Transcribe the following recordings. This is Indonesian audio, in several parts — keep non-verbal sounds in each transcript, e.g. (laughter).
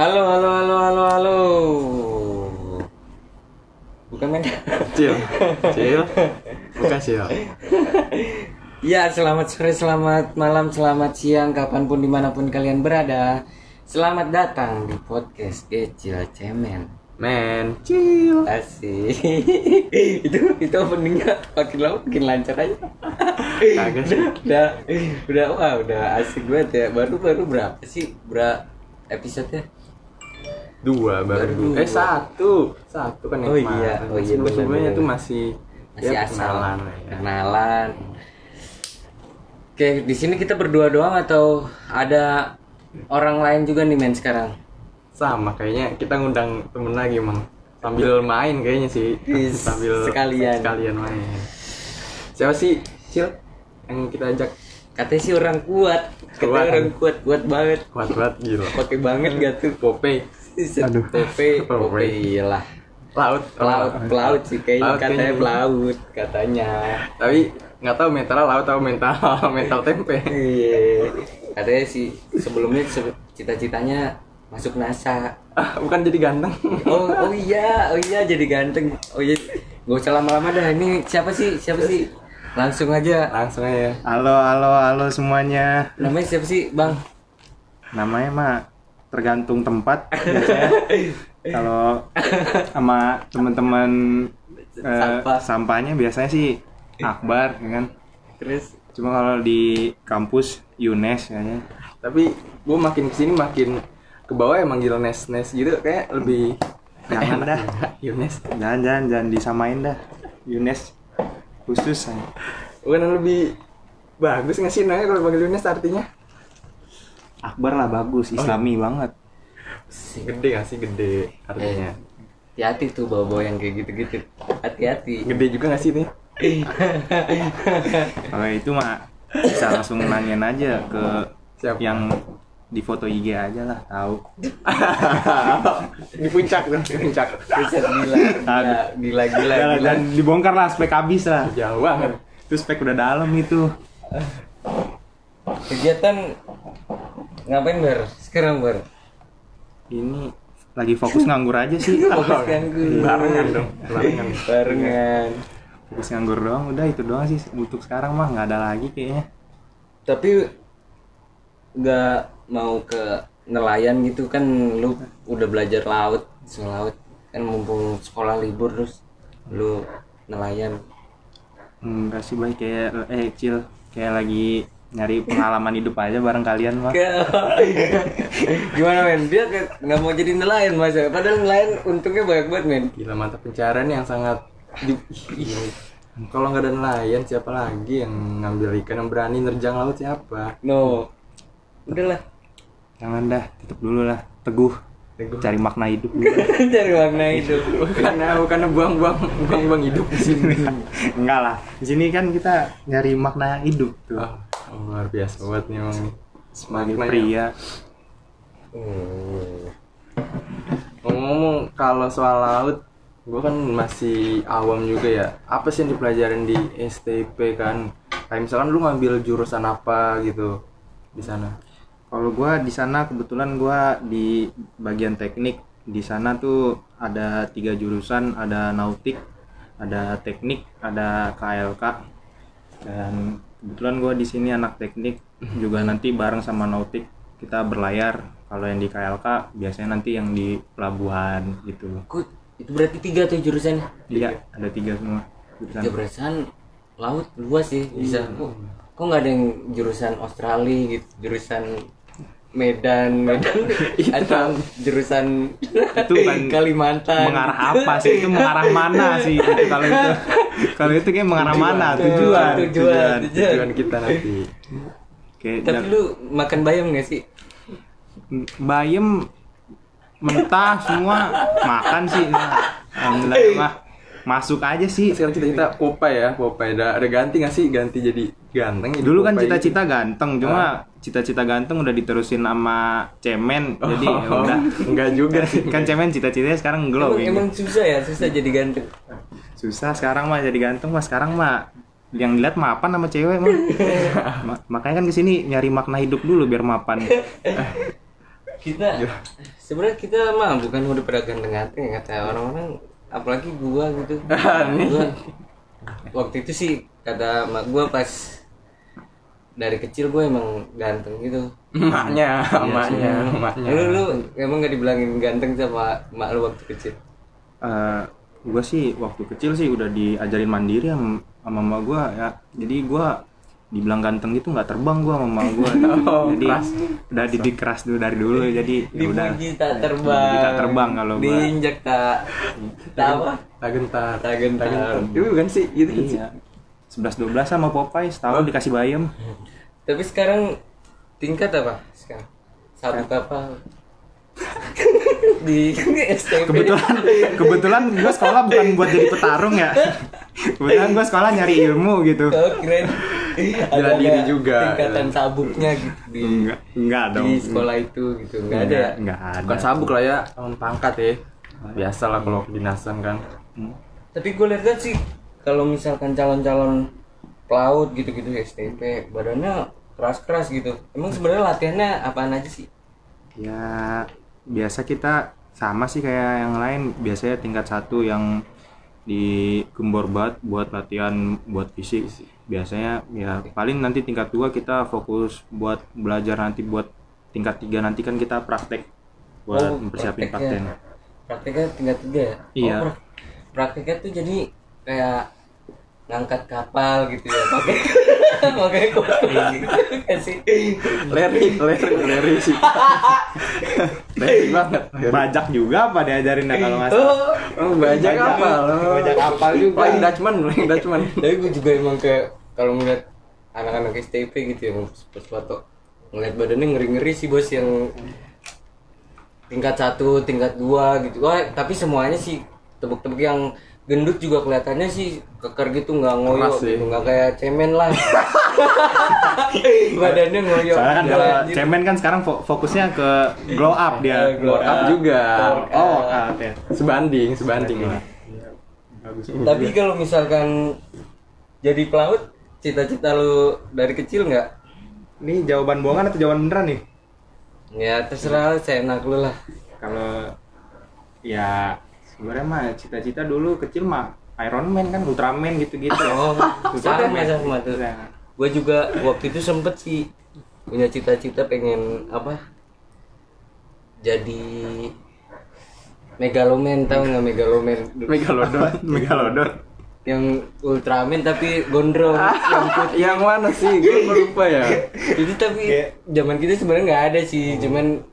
Halo, halo, halo, halo, halo. Bukan kan? men. Cil, Cil, bukan Cil. (laughs) Ya, selamat sore, selamat malam, selamat siang, kapanpun dimanapun kalian berada. Selamat datang di podcast Kecil Cemen. Men, Cil. Asik. (laughs) itu itu openingnya makin lama makin lancar aja. Kagak sih. (laughs) udah, udah, wah, udah asik banget ya. Baru baru berapa sih bra episode-nya? Dua baru. Baru dua. dua. Eh satu, satu kan yang Oh iya, oh iya, Sebelum benar, sebelumnya tuh benar. masih masih asal Ya, kenalan lah ya. kenalan. Oke, di sini kita berdua doang atau ada orang lain juga nih men sekarang? Sama kayaknya kita ngundang temen lagi emang sambil main kayaknya sih. Is, sambil sekalian. sekalian main. Siapa sih Cil yang kita ajak? Katanya sih orang kuat, katanya Kuat. orang kuat, kuat banget, Kuat banget gila. pakai banget gak tuh? Popeye, Aduh. Pope, Pope Pope. iyalah. laut, Pelaut, pelaut sih kayaknya Oh, Pelaut katanya kayaknya. pelaut katanya. Tapi nggak tahu mental laut atau mental (laughs) mental tempe. Iya. Katanya sih sebelumnya sebe- cita-citanya masuk NASA. Ah, bukan jadi ganteng. Oh, oh iya, oh iya jadi ganteng. Oh iya, gak usah lama-lama dah. Ini siapa sih? Siapa sih? Langsung aja. Langsung aja. Halo, halo, halo semuanya. Namanya siapa sih, Bang? Namanya mah tergantung tempat biasanya. Kalau sama teman-teman eh, Sampah. sampahnya biasanya sih Akbar ya kan. Terus Cuma kalau di kampus Yunes ya kan? kayaknya. Tapi gue makin kesini makin ke bawah emang gila nes nes gitu kayak lebih Jangan dah. (laughs) Yunes. Jangan jangan jangan disamain dah. Yunes khusus ya. saya. Bukan lebih bagus nggak sih nanya kalau panggil Yunes artinya? Akbar lah bagus, islami banget. Gede nggak sih gede artinya? hati-hati tuh bawa-bawa yang kayak gitu-gitu. (laughs) Hati-hati. Gede juga nggak sih nih? Kalau itu mah bisa langsung nanyain aja ke Siapa? yang di foto IG aja lah tahu. di puncak tuh, di puncak. Buset, gila, gila, gila, gila, gila. Dan dibongkar lah spek habis lah. Jauh banget. Itu spek udah dalam itu. Kegiatan ngapain bar? Sekarang bar. (laughs) Ini lagi fokus nganggur (laughs) aja sih. Fokus ganggu. Barengan dong, barengan. Barengan. Fokus nganggur doang udah itu doang sih untuk sekarang mah nggak ada lagi kayaknya. Tapi nggak mau ke nelayan gitu kan lu udah belajar laut, soal laut kan mumpung sekolah libur terus lu nelayan. Enggak Hmm, sih baik kayak eh cil kayak lagi nyari pengalaman hidup aja bareng kalian mah. (laughs) Gimana men? Dia kayak nggak mau jadi nelayan masa. Padahal nelayan untungnya banyak banget men. Gila mata pencarian yang sangat di- Iya. Kalau nggak ada nelayan siapa lagi yang ngambil ikan yang berani nerjang laut (laughs) siapa? No. Udahlah. (laughs) Jangan dah, tutup dulu lah. Teguh. Cari makna hidup dulu. (laughs) Cari warna hidup. Bukan bukan buang-buang buang-buang hidup di sini. Enggak lah. Di sini kan kita nyari makna hidup tuh. Wah, Ah, luar biasa banget nih emang. Sebagai maknanya. pria. Hmm. Ngomong-ngomong kalau soal laut, gue kan masih awam juga ya. Apa sih yang dipelajarin di STP kan? Kayak misalkan lu ngambil jurusan apa gitu di sana? Kalau gua di sana kebetulan gua di bagian teknik. Di sana tuh ada tiga jurusan, ada nautik, ada teknik, ada KLK. Dan kebetulan gua di sini anak teknik juga nanti bareng sama nautik kita berlayar. Kalau yang di KLK biasanya nanti yang di pelabuhan gitu. Ku- itu berarti tiga tuh jurusannya. Iya, ada tiga semua. Tiga Jurusan. jurusan laut luas sih bisa. Kok kok nggak ada yang jurusan Australia gitu, jurusan Medan, (laughs) Medan atau jurusan Iya, (laughs) Itu kan Kalimantan. Mengarah apa sih? Itu mengarah mana sih? Gitu, kalau itu kalau itu kayak mengarah mana? Tujuan, tujuan, tujuan. Tujuan kita nanti. Kayak Tapi lu makan bayam gak sih? bayam mentah semua makan sih nah, alhamdulillah mah masuk aja sih sekarang cita-cita Popeye ya Popeye ada, ada ganti nggak sih ganti jadi ganteng jadi dulu kan Popeye Ah. cita-cita ganteng cuma cita-cita ganteng udah diterusin sama cemen jadi ya Oh, (laughs) udah enggak juga sih. kan cemen cita-citanya sekarang Emang, glowing emang susah ya, susah jadi ganteng. susah sekarang mah jadi ganteng mah sekarang mah yang dilihat mapan sama cewek (laughs) mah Ma- makanya kan kesini nyari makna hidup dulu biar mapan Kita Iya. sebenarnya kita mah bukan udah pada ganteng-ganteng kata orang-orang apalagi gua (laughs) gitu. Iya, gua, waktu itu sih kata mak gua pas dari kecil gue emang ganteng gitu. Emaknya, Iya emaknya, emaknya. Lu lu emang gak dibilangin ganteng sama mak lu waktu kecil. eh gue sih waktu kecil sih udah diajarin mandiri sama, sama mama gue ya jadi gue dibilang ganteng gitu nggak terbang gue sama mama (laughs) gue Oh, jadi keras. udah didik keras dulu dari dulu jadi ya udah Dipuji tak terbang. Dipuji tak terbang kalau gua. diinjak tak tak apa? Tak gentar. Tak gentar. Itu kan sih, itu kan sih. iya sebelas dua belas sama Oh. Popeye setahun dikasih bayam Tapi sekarang tingkat apa sekarang? Sabuk apa? (laughs) di STP. kebetulan kebetulan gue sekolah bukan buat jadi petarung (laughs) ya kebetulan gue sekolah nyari ilmu gitu Oh, keren. Ada diri nggak juga. Tingkatan sabuknya gitu di enggak enggak dong di sekolah itu gitu. Enggak ada. ya? enggak ada Bukan sabuk lah ya, em, pangkat ya. Biasa lah kalau dinasan kan. Hmm. Tapi gue lihat sih kalau misalkan calon-calon pelaut gitu-gitu STP badannya keras-keras gitu. Emang sebenarnya latihannya apaan aja sih? Ya biasa kita sama sih kayak yang lain biasanya tingkat satu yang di gembor banget buat latihan buat fisik biasanya ya paling nanti tingkat dua kita fokus buat belajar nanti buat tingkat tiga nanti kan kita praktek buat Oh, mempersiapin prakteknya. praktek ya. Prakteknya tingkat tiga ya? Iya. Oh, pra- prakteknya tuh jadi kayak ngangkat kapal gitu ya pakai (laughs) pakai kuda Iya. gitu kan sih. Leri, leri, leri sih. (laughs) leri banget. bajak juga apa diajarin ya kalau nggak salah Oh, Oh, bajak apa lo? Bajak kapal juga. Paling Dutchman, paling Dutchman. tapi gue juga emang kayak kalau ngeliat anak-anak STP gitu ya pas foto ngeliat badannya ngeri-ngeri sih bos yang tingkat satu tingkat dua gitu wah tapi semuanya sih tebuk-tebuk yang gendut juga kelihatannya sih keker gitu nggak ngoyo Keras sih. gitu nggak kayak cemen (laughs) lah (laughs) badannya ngoyo soalnya kan kalau Gila, anjir. cemen kan sekarang fo- fokusnya ke glow Eh, up dia glow Up juga. oh up ya Sebanding, sebanding. gitu tapi ya. kalau misalkan jadi pelaut cita-cita lu dari kecil nggak ini jawaban bohongan atau jawaban beneran nih ya terserah saya enak lu lah kalau ya sebenarnya mah cita-cita dulu kecil mah Iron Man kan Ultraman gitu-gitu Oh, sama sama tuh. Iya. Gue juga waktu itu sempet sih punya cita-cita pengen apa? Jadi megaloman tau nggak megaloman (laughs) Megalodon. Megalodon yang Ultraman tapi gondrong yang putih. Yang mana sih? Gue lupa ya. Itu tapi zaman kita sebenarnya nggak ada sih, cuman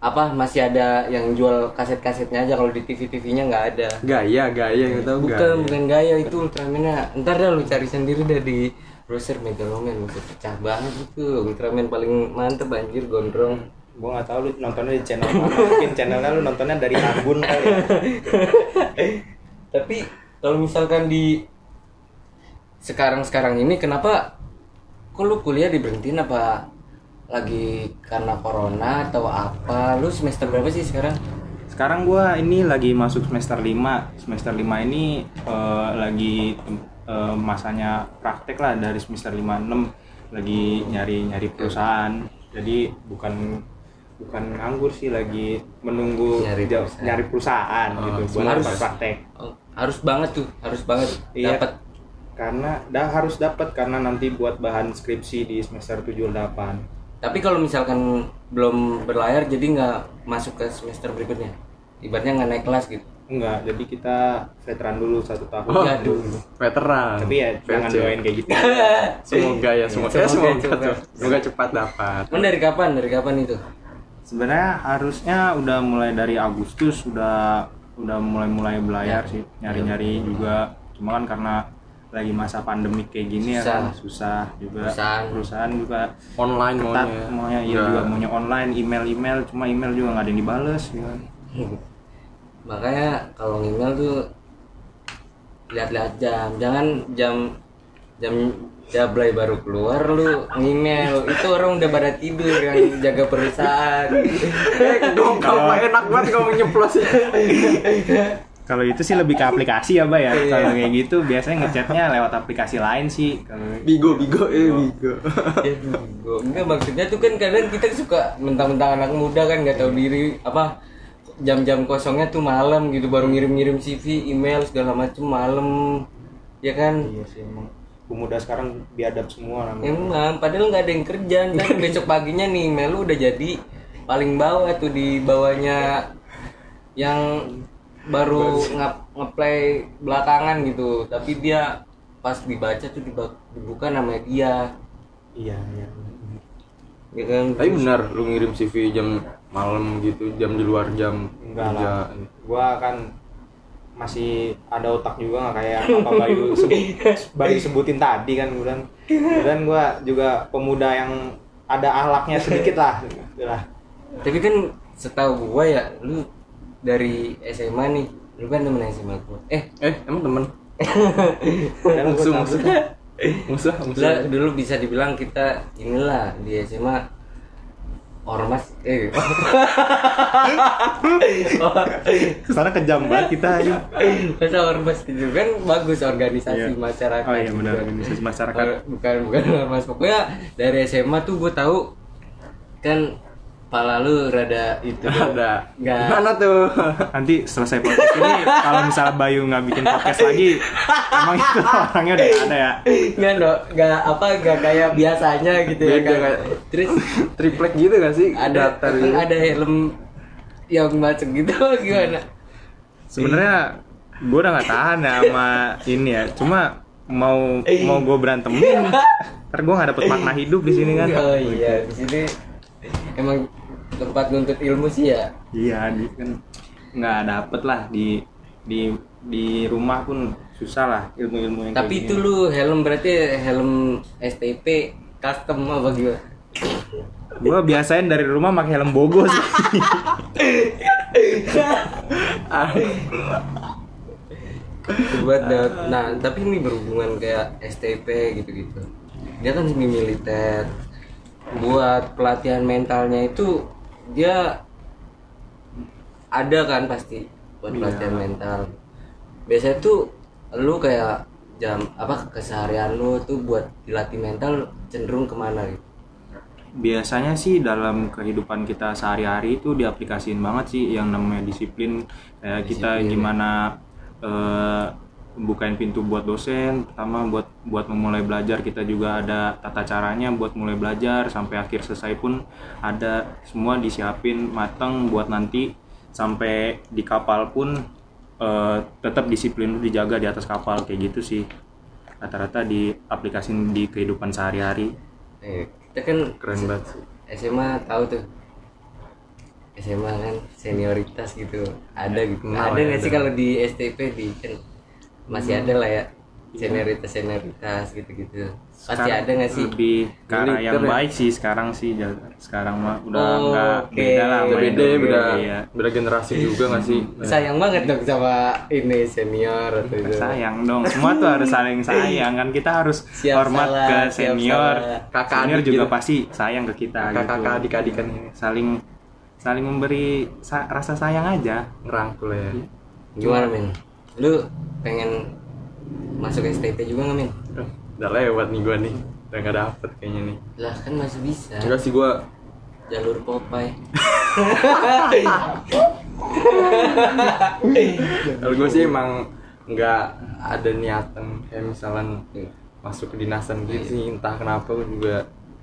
apa masih ada yang jual kaset-kasetnya aja kalau di TV-TV-nya nggak ada. Gaya, gaya, yang tahu Bukan, gaya. bukan gaya itu Ultraman-nya. Ntar dah lu cari sendiri dari browser Megaloman, udah pecah banget itu. Ultraman paling mantep anjir gondrong. gue gak tau lu nontonnya di channel mana mungkin channelnya lu nontonnya dari Anggun kali ya Tapi kalau misalkan di sekarang-sekarang ini kenapa kok lu kuliah diberhentiin apa lagi karena corona atau apa? Lu semester berapa sih sekarang? sekarang gue ini lagi masuk semester 5 semester 5 ini eh, lagi tem- eh, masanya praktek lah dari semester 5 6 lagi nyari nyari perusahaan jadi bukan bukan nganggur sih lagi menunggu Nyari jauh- perusahaan. nyari perusahaan gitu buat harus. tempat praktek Oh, harus banget tuh, harus banget Iya. dapat karena dah harus dapat karena nanti buat bahan skripsi di semester 7 8 Tapi kalau misalkan belum berlayar jadi nggak masuk ke semester berikutnya. Ibaratnya nggak naik kelas gitu. enggak jadi kita veteran dulu satu tahun Oh, Waduh. veteran. tapi ya jangan Vece. doain (laughs) kayak gitu Semoga ya, semoga, ya, Semoga, semoga, semoga. semoga cepat dapat. Emang dari kapan? Dari kapan itu? sebenarnya harusnya udah mulai dari Agustus udah udah mulai mulai belayar Ya. sih nyari nyari juga cuma kan karena lagi masa pandemik kayak gini ya Susah. kan susah juga Perusahaan. perusahaan juga Online ketat maunya. ya. maunya iya Udah. juga maunya online email email cuma email juga nggak ada yang dibales ya kan. Makanya kalau email tuh lihat-lihat jam. Jangan jam jam jablay baru keluar lu ngimel itu orang udah pada tidur yang jaga perusahaan Dong, kalau enak banget kamu nyeplos Kalau itu sih lebih ke aplikasi ya, Mbak ya. Iya. Kalau kayak gitu biasanya ngechatnya lewat aplikasi lain sih. Kalau Iya Bigo, bigo, eh bigo. ya bingung. enggak maksudnya tuh kan kadang kita suka mentang-mentang anak muda kan nggak tahu diri apa jam-jam kosongnya tuh malam gitu baru ngirim-ngirim CV email segala macem malam ya kan gitu. Iya sih emang pemuda sekarang biadab semua namanya. Emang, padahal nggak ada yang kerja. Ntar besok paginya nih, Melu udah jadi paling bawah tuh di bawahnya yang baru nge- ngeplay belakangan gitu. Tapi dia pas dibaca tuh diba- dibuka namanya dia. Iya, iya. Ya kan? Tapi benar, lu ngirim CV jam malam gitu, jam di luar jam Enggak kerja. lah. Gua kan masih ada otak juga nggak kayak apa Bayu sebut, Bayu sebutin tadi kan kemudian kemudian gua juga pemuda yang ada ahlaknya sedikit lah lah Tapi kan setahu gua ya, lu dari SMA nih, lu kan temen SMA gua. Eh, Eh, emang temen? Padahal gua Musuh, tahu. musuh. (laughs) Musuh, musuh. Lah, dulu bisa dibilang kita inilah di SMA ormas eh kesana kejam banget kita ini. masa ormas itu kan bagus organisasi Iya. masyarakat Oh iya benar juga. organisasi masyarakat. Or- bukan bukan (laughs) ormas pokoknya dari SMA tuh gue tahu kan pala lu rada (laughs) itu Ada. Nggak. Mana tuh? Nanti selesai podcast ini kalau misalnya Bayu nggak bikin podcast lagi, (laughs) emang itu orangnya udah nggak ada ya. nggak no- nggak apa nggak kayak biasanya gitu ya Beda kan kayak- terus Triplek gitu gak sih? ada Datar emang gitu. ada helm yang macam gitu gimana Sebenarnya gue udah nggak tahan ya sama ini ya. Cuma mau mau gue berantemin, ntar gue nggak dapet makna hidup di sini kan. oh iya di sini emang tempat nuntut ilmu sih ya Iya, di kan nggak dapet lah di di di rumah pun susah lah ilmu-ilmu yang kayak tapi gini. itu lu helm berarti helm STP custom apa gimana Gua biasain dari rumah pakai helm bogo sih. buat daud- nah tapi ini berhubungan kayak STP gitu-gitu dia kan semi militer buat pelatihan mentalnya itu dia ada kan pasti buat pelatihan mental biasanya tuh lu kayak jam apa keseharian lu tuh buat dilatih mental cenderung kemana gitu Biasanya sih dalam kehidupan kita sehari-hari itu diaplikasiin banget sih yang namanya disiplin kayak kita gimana eh, bukain pintu buat dosen, pertama buat buat memulai belajar kita juga ada tata caranya buat mulai belajar sampai akhir selesai pun ada semua disiapin matang buat nanti sampai di kapal pun eh, tetap disiplin lu dijaga di atas kapal kayak gitu sih rata-rata di aplikasi di kehidupan sehari-hari eh, kita kan Keren banget sih. SMA tahu tuh SMA kan senioritas gitu ada gitu Nah, kenal ada ya, nggak sih ada. kalau di STP di kan Hmm. masih ada lah ya senioritas senioritas gitu gitu pasti Sekarang ada nggak sih lebih ke arah yang Militer ya? baik sih sekarang sih jal- sekarang mah udah Oh, nggak oke. beda lah Udah sama yang beda ya, dulu, beda, iya. beda generasi juga gak sih? sayang banget dong sama ini senior atau gitu. itu Iya, sayang dong semua tuh harus saling sayang kan kita harus (laughs) Siap hormat salah, ke siap senior salah. Kakak senior adik juga gitu. pasti sayang ke kita Kakak-kakak gitu. adik-adikan. saling saling memberi sa- rasa sayang aja Ngerangkul ya. gimana men lu pengen masuk STP juga nggak men Eh, Udah lewat nih gua nih. Udah gak dapet kayaknya nih. lah kan masih bisa Enggak sih gua jalur Popeye Kalau gue sih emang nggak ada niatan kayak misalkan masuk ke dinasan gitu sih entah kenapa gue juga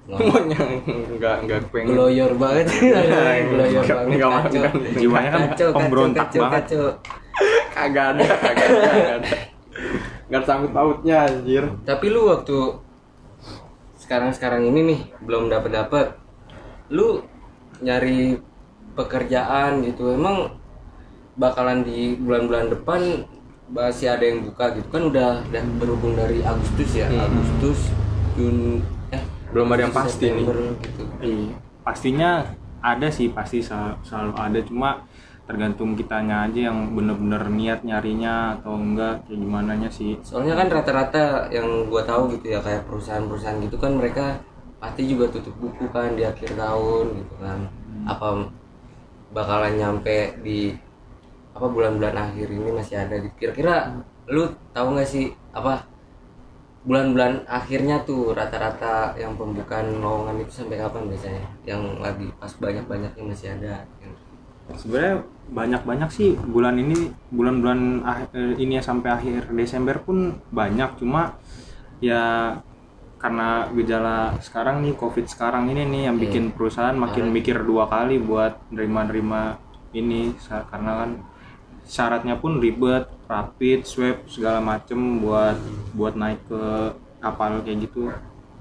Nggak. nggak nggak pengen Gloyor (laughs) banget Gloyor Nggak- banget nggak mau, kacau. nggak mau. Jiwanya kan Kacau, kacau, pemberontak kacau, banget. kacau. kagak ada kagak ada kagak ada nggak ada sangkut pautnya anjir Tapi lu waktu sekarang-sekarang ini nih belum dapat dapat, lu nyari pekerjaan gitu emang bakalan di bulan-bulan depan masih ada yang buka gitu kan udah udah berhubung dari Agustus ya Agustus Juni eh Hmm. Belum ada yang Agustus, pasti nih. September gitu. Iya. Pastinya ada sih pasti sel- selalu, ada cuma tergantung kitanya aja yang bener-bener niat nyarinya atau enggak kayak gimana sih soalnya kan rata-rata yang gua tahu gitu ya kayak perusahaan-perusahaan gitu kan mereka pasti juga tutup buku kan di akhir tahun gitu kan apa bakalan nyampe di apa bulan-bulan akhir ini masih ada gitu kira-kira lu tahu nggak sih apa bulan-bulan akhirnya tuh rata-rata yang pembukaan lowongan itu sampai kapan biasanya yang lagi pas banyak-banyaknya masih ada gitu. sebenarnya banyak-banyak sih bulan ini bulan-bulan ah- eh, ini ya sampai akhir Desember pun banyak cuma ya karena gejala sekarang nih covid sekarang ini nih yang bikin perusahaan makin mikir dua kali buat nerima-nerima ini sa- karena kan syaratnya pun ribet rapid swab segala macem buat buat naik ke kapal kayak gitu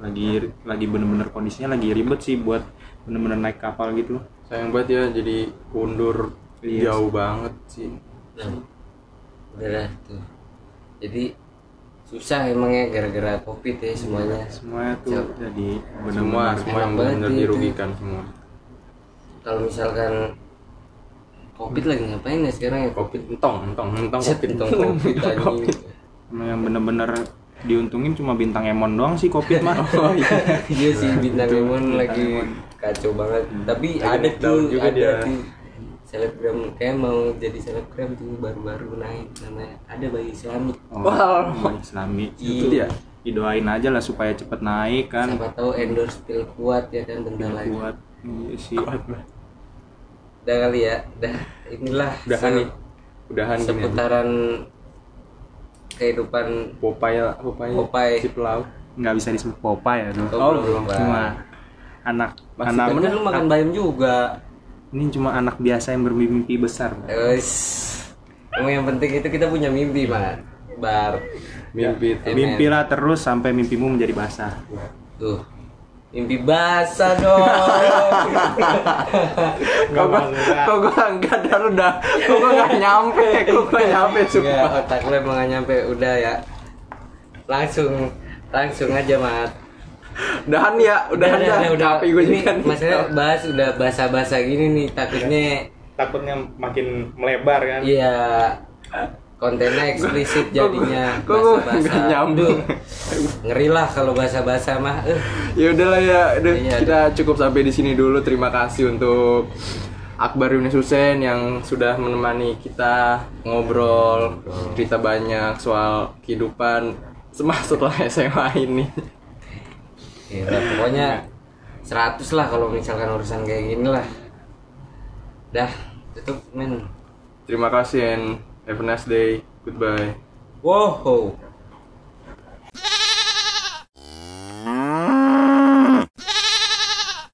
lagi lagi bener-bener kondisinya lagi ribet sih buat bener-bener naik kapal gitu sayang banget ya jadi undur Iya. jauh banget sih Nah, udah lah gitu. tuh. Jadi susah emangnya gara-gara covid ya semuanya. semuanya tuh Siap. jadi semua benar-benar semua yang Enak banget benar sih itu. dirugikan semua Kalau misalkan covid lagi ngapain ya sekarang ya? covid entong entong entong Set covid tentang (laughs) covid anjing. Emang yang bener-bener diuntungin cuma bintang emon doang sih covid mah oh, iya. (laughs) Iya sih bintang Emon lagi kacau banget. Tapi Lagi ada lockdown tuh juga ada dia. tuh selebgram kayak mau jadi selebgram tuh baru-baru naik namanya ada bayi Islami. Wah. Oh, islami Itu dia. didoain aja lah supaya cepet naik kan Siapa tahu endorse pil kuat ya kan bentar lagi. kuat iya sih Udah kali ya. Udah inilah udahan se- kan nih udahan gini seputaran kehidupan popai popai Popeye. si pelaut nggak bisa disebut Popeye ya tuh Oh, belum, Pak. cuma anak Masih anak Tapi kan lu makan bayam juga ini cuma anak biasa yang bermimpi besar Pak. Terus Emang yang penting itu kita punya mimpi Pak Bar mimpi itu mimpilah terus sampai mimpimu menjadi basah Tuh Mimpi basah dong kok gua kok gua nggak ada udah kok gua nggak nyampe kok gua nyampe Enggak, (laughs) sumpah otak lu emang nggak nyampe Udah ya Langsung Langsung aja Mat udahan ya udahan dah tapi gua Ini juga nih. maksudnya bahas udah basah-basah gini nih Takutnya takutnya makin melebar kan Iya kontennya eksplisit Kok gua- jadinya kok gua bahasa-bahasa. nggak nyambung? Aduh, Ngeri lah kalau bahasa-bahasa mah. Eh, (laughs) ya udahlah ya udah Iya, kita cukup sampai di sini dulu terima kasih untuk Akbar Yunus Hussein yang sudah menemani kita ngobrol cerita banyak soal kehidupan (laughs) sem- setelah SMA ini gila, gitu. pokoknya 100 lah kalau misalkan urusan kayak gini lah. Dah, tutup men. terima kasih and have a nice day goodbye Wow.